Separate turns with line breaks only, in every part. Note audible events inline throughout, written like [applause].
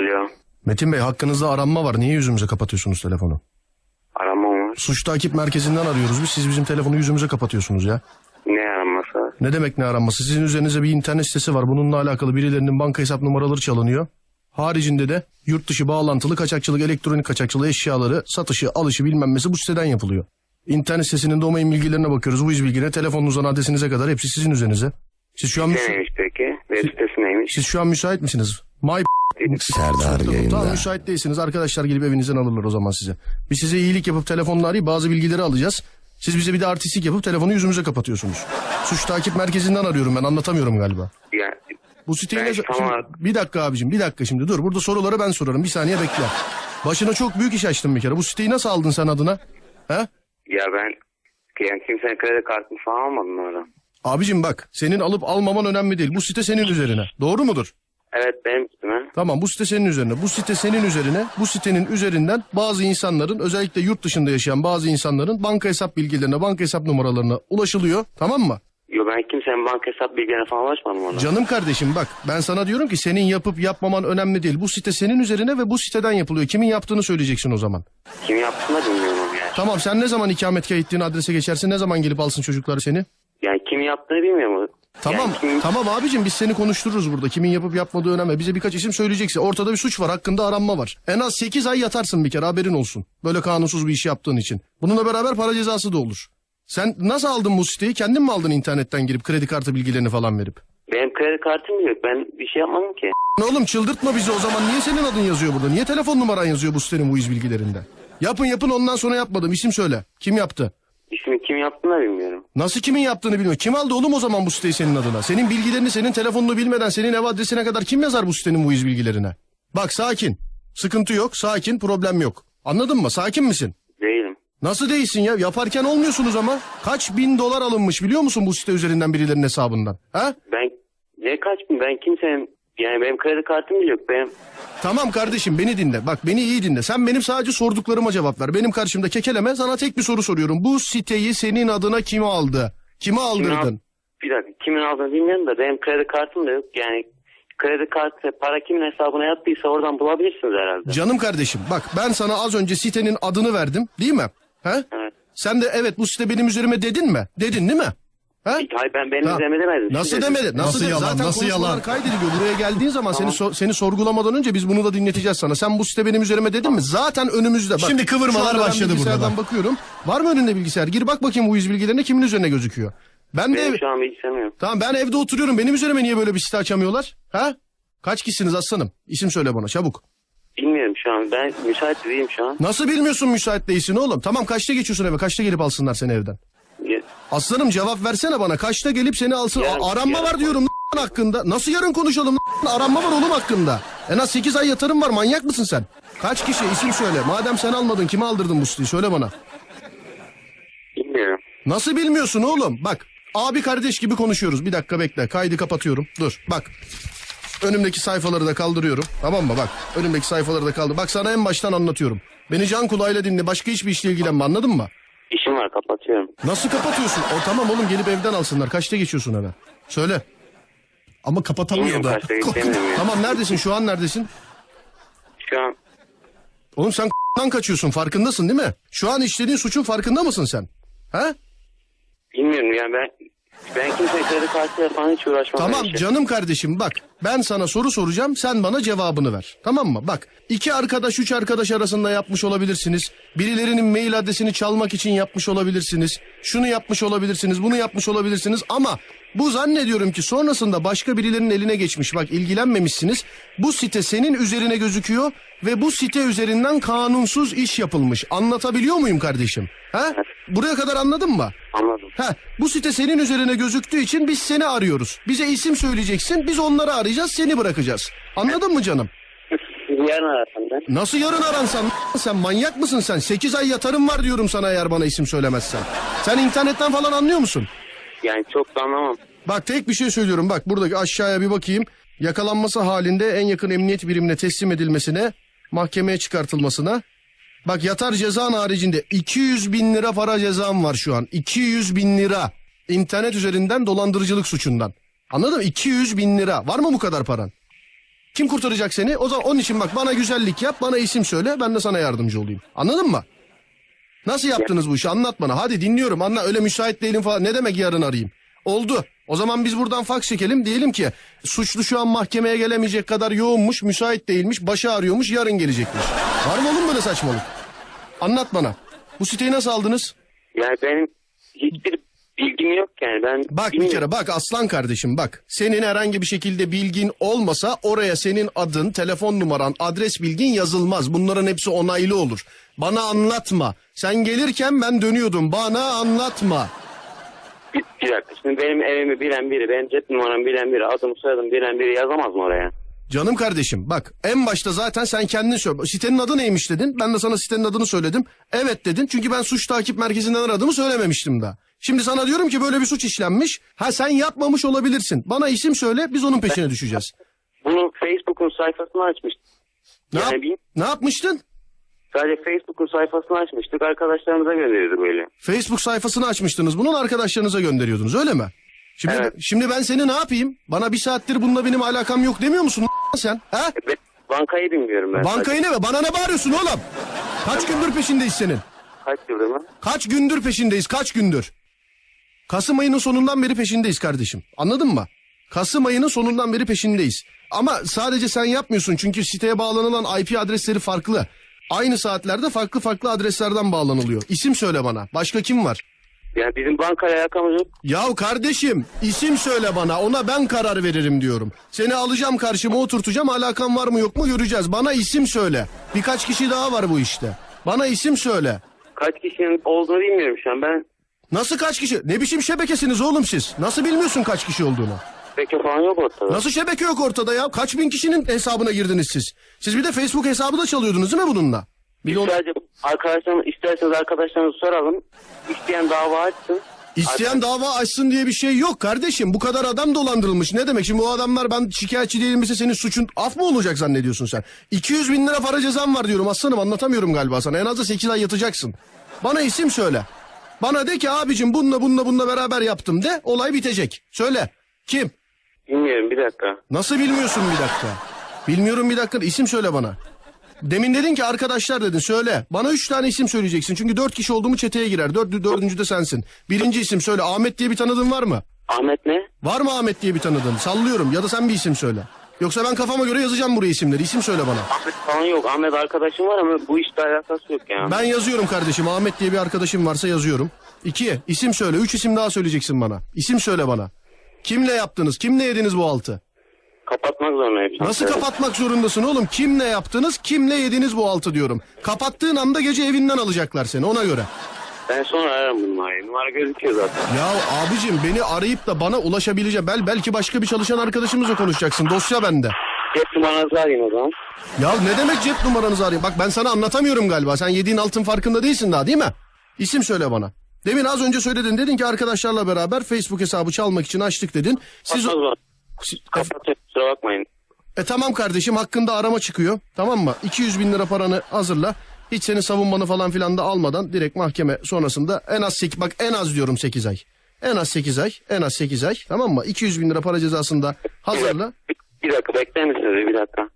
ya.
Metin Bey hakkınızda aranma var. Niye yüzümüze kapatıyorsunuz telefonu?
Arama mı?
Suç takip merkezinden arıyoruz biz. Siz bizim telefonu yüzümüze kapatıyorsunuz ya.
Ne araması?
Ne demek ne aranması? Sizin üzerinize bir internet sitesi var. Bununla alakalı birilerinin banka hesap numaraları çalınıyor. Haricinde de yurt dışı bağlantılı kaçakçılık, elektronik kaçakçılığı eşyaları, satışı, alışı bilmem nesi bu siteden yapılıyor. İnternet sitesinin domain bilgilerine bakıyoruz. Bu iz bilgine, telefonunuzdan adresinize kadar hepsi sizin üzerinize. Siz şu an,
Ne
müsa-
neymiş peki? Web sitesi neymiş?
siz şu an müsait misiniz? My
Serdar
Tamam
yayında.
müsait değilsiniz. Arkadaşlar gelip evinizden alırlar o zaman size. Biz size iyilik yapıp telefonla arayıp bazı bilgileri alacağız. Siz bize bir de artistik yapıp telefonu yüzümüze kapatıyorsunuz. Suç takip merkezinden arıyorum ben anlatamıyorum galiba.
Ya,
Bu siteyi
Ben
ne...
tam
Şimdi-
olarak-
bir dakika abicim bir dakika şimdi dur. Burada soruları ben sorarım bir saniye bekle. Başına çok büyük iş açtın bir kere. Bu siteyi nasıl aldın sen adına? He?
ya ben yani kimsenin kredi kartını falan almadım orada.
Abicim bak senin alıp almaman önemli değil. Bu site senin üzerine. Doğru mudur?
Evet benim üstüme.
Tamam bu site senin üzerine. Bu site senin üzerine. Bu sitenin üzerinden bazı insanların özellikle yurt dışında yaşayan bazı insanların banka hesap bilgilerine, banka hesap numaralarına ulaşılıyor. Tamam mı?
Yo ben kimsenin banka hesap bilgilerine falan ulaşmadım orada.
Canım kardeşim bak ben sana diyorum ki senin yapıp yapmaman önemli değil. Bu site senin üzerine ve bu siteden yapılıyor. Kimin yaptığını söyleyeceksin o zaman.
Kim yaptığını da bilmiyorum yani.
Tamam sen ne zaman ikametgah ettiğin adrese geçersin? Ne zaman gelip alsın çocukları seni?
Yani kim yaptığını bilmiyorum.
Tamam
Yani şey- kim-
tamam abicim biz seni konuştururuz burada. Kimin yapıp yapmadığı önemli. Bize birkaç isim söyleyeceksin. Ortada bir suç var hakkında aranma var. En az 8 ay yatarsın bir kere haberin olsun. Böyle kanunsuz bir iş yaptığın için. Bununla beraber para cezası da olur. Sen nasıl aldın bu siteyi? Kendin mi aldın internetten girip kredi kartı bilgilerini falan verip?
Benim kredi kartım yok. Ben bir şey yapmadım ki.
Ne oğlum çıldırtma bizi o zaman. Niye senin adın yazıyor burada? Niye telefon numaran yazıyor bu sitenin bu iz bilgilerinde? Yapın yapın ondan sonra yapmadım. İsim söyle. Kim yaptı?
İsmi kim yaptığını da bilmiyorum.
Nasıl kimin yaptığını bilmiyor. Kim aldı oğlum o zaman bu siteyi senin adına? Senin bilgilerini, senin telefonunu bilmeden senin ev adresine kadar kim yazar bu sitenin bu iz bilgilerine? Bak sakin. Sıkıntı yok, sakin, problem yok. Anladın mı? Sakin misin?
Değilim.
Nasıl değilsin ya? Yaparken olmuyorsunuz ama. Kaç bin dolar alınmış biliyor musun bu site üzerinden birilerinin hesabından? Ha?
Ben ne kaç Ben kimsenin yani benim kredi kartım bile yok. Benim
Tamam kardeşim beni dinle. Bak beni iyi dinle. Sen benim sadece sorduklarıma cevap ver. Benim karşımda kekeleme. Sana tek bir soru soruyorum. Bu siteyi senin adına kim aldı? Kime
Kimin
aldırdın?
al- Bir dakika kimin aldığını bilmiyorum da benim kredi kartım da yok. Yani kredi kartı para kimin hesabına yattıysa oradan bulabilirsiniz herhalde.
Canım kardeşim bak ben sana az önce sitenin adını verdim değil mi? He?
Evet.
Sen de evet bu site benim üzerime dedin mi? Dedin değil mi? He?
Hayır ben benim
Ha.
üzerime demedim.
Nasıl
Siz dediniz.
demedi? Nasıl,
Nasıl
dedi?
yalan,
Zaten
nasıl
konuşmalar
yalan?
kaydediliyor. Buraya geldiğin zaman seni sor- seni sorgulamadan önce biz bunu da dinleteceğiz sana. Sen bu site benim üzerime dedin mi? Zaten önümüzde. Bak,
Şimdi kıvırmalar
şu anda ben
başladı burada
bilgisayardan bakıyorum. Var mı önünde bilgisayar? Gir bak bakayım bu yüz bilgilerine kimin üzerine gözüküyor. Ben de
Benim
ev-
şu an bilgisayarım yok.
Tamam ben evde oturuyorum. Benim üzerime niye böyle bir site açamıyorlar? Ha? Kaç kişisiniz aslanım? İsim söyle bana çabuk.
Bilmiyorum şu an. Ben müsait değilim şu an.
Nasıl bilmiyorsun müsait değilsin oğlum? Tamam kaçta geçiyorsun eve? Kaçta gelip alsınlar seni evden?
Ya-
Aslanım cevap versene bana. Kaçta gelip seni alsın?
Yarın-
A- aranma
yarın
var diyorum lan hakkında. Nasıl yarın konuşalım? lan? Aranma var oğlum hakkında. En az 8 ay yatarım var. Manyak mısın sen? Kaç kişi isim söyle. Madem sen almadın kime aldırdın bu siteyi söyle bana.
Bilmiyorum.
Nasıl bilmiyorsun oğlum? Bak abi kardeş gibi konuşuyoruz. Bir dakika bekle. Kaydı kapatıyorum. Dur bak. Önümdeki sayfaları da kaldırıyorum. Tamam mı bak. Önümdeki sayfaları da kaldır. Bak sana en baştan anlatıyorum. Beni can kulağıyla dinle. Başka hiçbir işle ilgilenme anladın mı?
İşim var kapatıyorum.
Nasıl kapatıyorsun? O tamam oğlum gelip evden alsınlar. Kaçta geçiyorsun eve? Söyle.
Ama kapatamıyor
Bilmiyorum
da.
kaçta gittiğimi ya.
Tamam neredesin? Şu an neredesin?
Şu an
Oğlum sen [laughs] k***dan kaçıyorsun. Farkındasın değil mi? Şu an işlediğin suçun farkında mısın sen? He?
bilmiyorum yani ben ben kimsenin kredi kartıyla falan hiç uğraşmam. şey.
Tamam
ben hiç.
canım kardeşim bak ben sana soru soracağım sen bana cevabını ver tamam mı? Bak iki arkadaş üç arkadaş arasında yapmış olabilirsiniz. Birilerinin mail adresini çalmak için yapmış olabilirsiniz. Şunu yapmış olabilirsiniz bunu yapmış olabilirsiniz ama bu zannediyorum ki sonrasında başka birilerinin eline geçmiş bak ilgilenmemişsiniz. Bu site senin üzerine gözüküyor ve bu site üzerinden kanunsuz iş yapılmış. Anlatabiliyor muyum kardeşim? Ha? Buraya kadar anladın mı?
Anladım.
Ha, bu site senin üzerine gözüktüğü için biz seni arıyoruz. Bize isim söyleyeceksin, biz onları arayacağız, seni bırakacağız. Anladın mı canım?
Yarın arasın ben.
Nasıl yarın aransan [laughs] sen manyak mısın sen? 8 ay yatarım var diyorum sana eğer bana isim söylemezsen. Sen internetten falan anlıyor musun?
Yani çok da anlamam.
Bak tek bir şey söylüyorum. Bak buradaki aşağıya bir bakayım. Yakalanması halinde en yakın emniyet birimine teslim edilmesine, mahkemeye çıkartılmasına. Bak yatar cezan haricinde 200 bin lira para cezam var şu an. 200 bin lira. İnternet üzerinden dolandırıcılık suçundan. Anladın mı? 200 bin lira. Var mı bu kadar paran? Kim kurtaracak seni? O zaman onun için bak bana güzellik yap, bana isim söyle, ben de sana yardımcı olayım. Anladın mı? Nasıl yaptınız bu işi? Anlat bana. Hadi dinliyorum. Anla öyle müsait değilim falan. Ne demek yarın arayayım? Oldu. O zaman biz buradan faks çekelim. Diyelim ki suçlu şu an mahkemeye gelemeyecek kadar yoğunmuş, müsait değilmiş, başı ağrıyormuş, yarın gelecekmiş. Var mı oğlum böyle saçmalık? Anlat bana. Bu siteyi nasıl aldınız?
Yani benim hiçbir bilgim yok yani. Ben
Bak bir
bilmiyorum.
kere bak aslan kardeşim bak. Senin herhangi bir şekilde bilgin olmasa oraya senin adın, telefon numaran, adres bilgin yazılmaz. Bunların hepsi onaylı olur. Bana anlatma. Sen gelirken ben dönüyordum. Bana anlatma.
Bir, bir dakika şimdi benim evimi bilen biri, benim cep numaramı bilen biri, adımı soyadım bilen biri yazamaz mı oraya?
Canım kardeşim bak en başta zaten sen kendin söyle. Sitenin adı neymiş dedin. Ben de sana sitenin adını söyledim. Evet dedin çünkü ben suç takip merkezinden aradığımı söylememiştim daha. Şimdi sana diyorum ki böyle bir suç işlenmiş. Ha sen yapmamış olabilirsin. Bana isim söyle biz onun peşine düşeceğiz.
Bunu Facebook'un sayfasını açmıştık.
Ne, yap-
Yani bir-
ne yapmıştın?
Sadece Facebook'un sayfasını açmıştık. Arkadaşlarımıza gönderirdi böyle.
Facebook sayfasını açmıştınız. Bunun arkadaşlarınıza gönderiyordunuz öyle mi? Şimdi,
Evet.
şimdi ben seni ne yapayım? Bana bir saattir bununla benim alakam yok demiyor musun lan sen? Ha?
E, Ben bankayı bilmiyorum ben.
Bankayı ne be? Bana ne bağırıyorsun oğlum? Kaç gündür peşindeyiz senin?
Kaç yıldır mı?
Kaç gündür peşindeyiz kaç gündür? Kasım ayının sonundan beri peşindeyiz kardeşim. Anladın mı? Kasım ayının sonundan beri peşindeyiz. Ama sadece sen yapmıyorsun çünkü siteye bağlanılan IP adresleri farklı. Aynı saatlerde farklı farklı adreslerden bağlanılıyor. İsim söyle bana. Başka kim var?
Yani bizim bankayla alakamız yok.
Yahu kardeşim isim söyle bana ona ben karar veririm diyorum. Seni alacağım karşıma oturtacağım alakan var mı yok mu göreceğiz. Bana isim söyle. Birkaç kişi daha var bu işte. Bana isim söyle.
Kaç kişinin olduğunu bilmiyorum şu an. Ben
Nasıl kaç kişi? Ne biçim şebekesiniz oğlum siz? Nasıl bilmiyorsun kaç kişi olduğunu?
peki falan yok ortada.
Nasıl şebeke yok ortada ya? Kaç bin kişinin hesabına girdiniz siz? Siz bir de Facebook hesabı da çalıyordunuz değil mi bununla? Bir de onu-
Sadece arkadaşlarım, isterseniz arkadaşlarınızı soralım. İsteyen dava açsın.
İsteyen dava açsın diye bir şey yok kardeşim. Bu kadar adam dolandırılmış. Ne demek şimdi bu adamlar ben şikayetçi değilim ise senin suçun af mı olacak zannediyorsun sen? 200 bin lira para cezam var diyorum aslanım anlatamıyorum galiba sana. En az da 8 ay yatacaksın. Bana isim söyle. Bana de ki abicim bununla bununla bununla beraber yaptım de olay bitecek. Söyle. Kim?
Bilmiyorum bir dakika.
Nasıl bilmiyorsun bir dakika? Bilmiyorum bir dakika isim söyle bana. Demin dedin ki arkadaşlar dedin söyle. Bana üç tane isim söyleyeceksin. Çünkü dört kişi olduğumu çeteye girer. Dört, dördüncü de sensin. Birinci isim söyle. Ahmet diye bir tanıdığın var mı?
Ahmet ne?
Var mı Ahmet diye bir tanıdığın? Sallıyorum ya da sen bir isim söyle. Yoksa ben kafama göre yazacağım buraya isimleri. İsim söyle bana.
Ahmet falan yok. Ahmet arkadaşım var ama bu işte alakası yok yani.
Ben yazıyorum kardeşim. Ahmet diye bir arkadaşım varsa yazıyorum. İki, isim söyle. Üç isim daha söyleyeceksin bana. İsim söyle bana. Kimle yaptınız? Kimle yediniz bu altı?
Kapatmak zorundayım. şu an.
Nasıl
Evet.
kapatmak zorundasın oğlum? Kimle yaptınız? Kimle yediniz bu altı diyorum. Kapattığın anda gece evinden alacaklar seni ona göre.
Ben sonra ararım bunları. Numara gözüküyor zaten.
Ya abicim beni arayıp da bana ulaşabileceğim. Bel belki başka bir çalışan arkadaşımızla konuşacaksın. Dosya bende.
Cep numaranızı arayın o zaman.
Ya ne demek cep numaranızı arayayım? Bak ben sana anlatamıyorum galiba. Sen yediğin altın farkında değilsin daha değil mi? İsim söyle bana. Demin az önce söyledin dedin ki arkadaşlarla beraber Facebook hesabı çalmak için açtık dedin. Siz
Kapatmak zorundayım.
Siz-
Kapatın kusura bakmayın.
E tamam kardeşim hakkında arama çıkıyor. Tamam mı? 200 bin lira paranı hazırla. Hiç senin savunmanı falan filan da almadan direkt mahkeme sonrasında en az 8 bak en az diyorum 8 ay. En az 8 ay, en az 8 ay. Tamam mı? 200 bin lira para cezasını da hazırla.
Bir, bir dakika bekler misiniz bir dakika.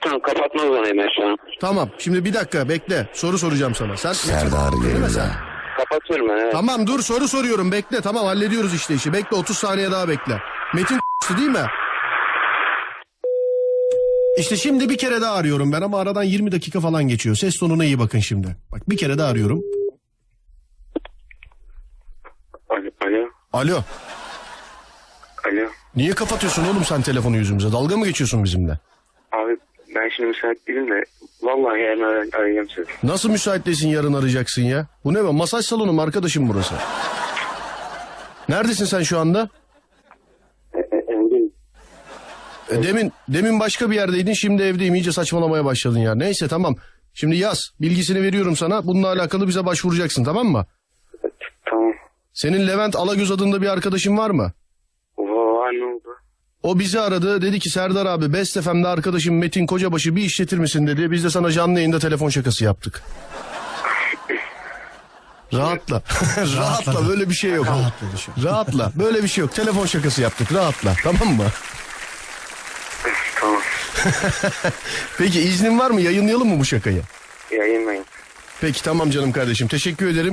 Tamam kapatmak zorundayım ben şu an.
Tamam. Şimdi bir dakika bekle. Soru soracağım sana. Sen
Serdar Geriza.
Kapatıyorum ben evet.
Tamam dur soru soruyorum. Bekle. Tamam hallediyoruz işte işi. Bekle 30 saniye daha bekle. Metin [laughs] değil mi? İşte şimdi bir kere daha arıyorum ben ama aradan 20 dakika falan geçiyor. Ses tonuna iyi bakın şimdi. Bak bir kere daha arıyorum.
Alo, alo,
Alo.
alo.
Niye kapatıyorsun oğlum sen telefonu yüzümüze? Dalga mı geçiyorsun bizimle?
Abi ben şimdi müsait değilim de vallahi yarın aray- arayacağım sizi.
Nasıl müsait değilsin yarın arayacaksın ya? Bu ne be? Masaj salonu mu arkadaşım burası? Neredesin sen şu anda?
e,
E, Demin demin başka bir yerdeydin şimdi evdeyim iyice saçmalamaya başladın ya. Neyse tamam. Şimdi yaz bilgisini veriyorum sana bununla alakalı bize başvuracaksın tamam mı?
e, Tamam.
Senin Levent Alagöz adında bir arkadaşın var mı?
Valla ne oldu?
O bizi aradı dedi ki Serdar abi Best FM'de arkadaşım Metin Kocabaşı bir işletir misin dedi. Biz de sana canlı yayında telefon şakası yaptık. Rahatla. [laughs] rahatla böyle bir şey yok.
Rahatladı şu
Rahatla. Böyle bir şey yok. Telefon şakası yaptık. Rahatla. Tamam mı?
tamam.
Peki iznin var mı? Yayınlayalım mı bu şakayı?
Yayınlayın.
Peki tamam canım kardeşim. Teşekkür ederim.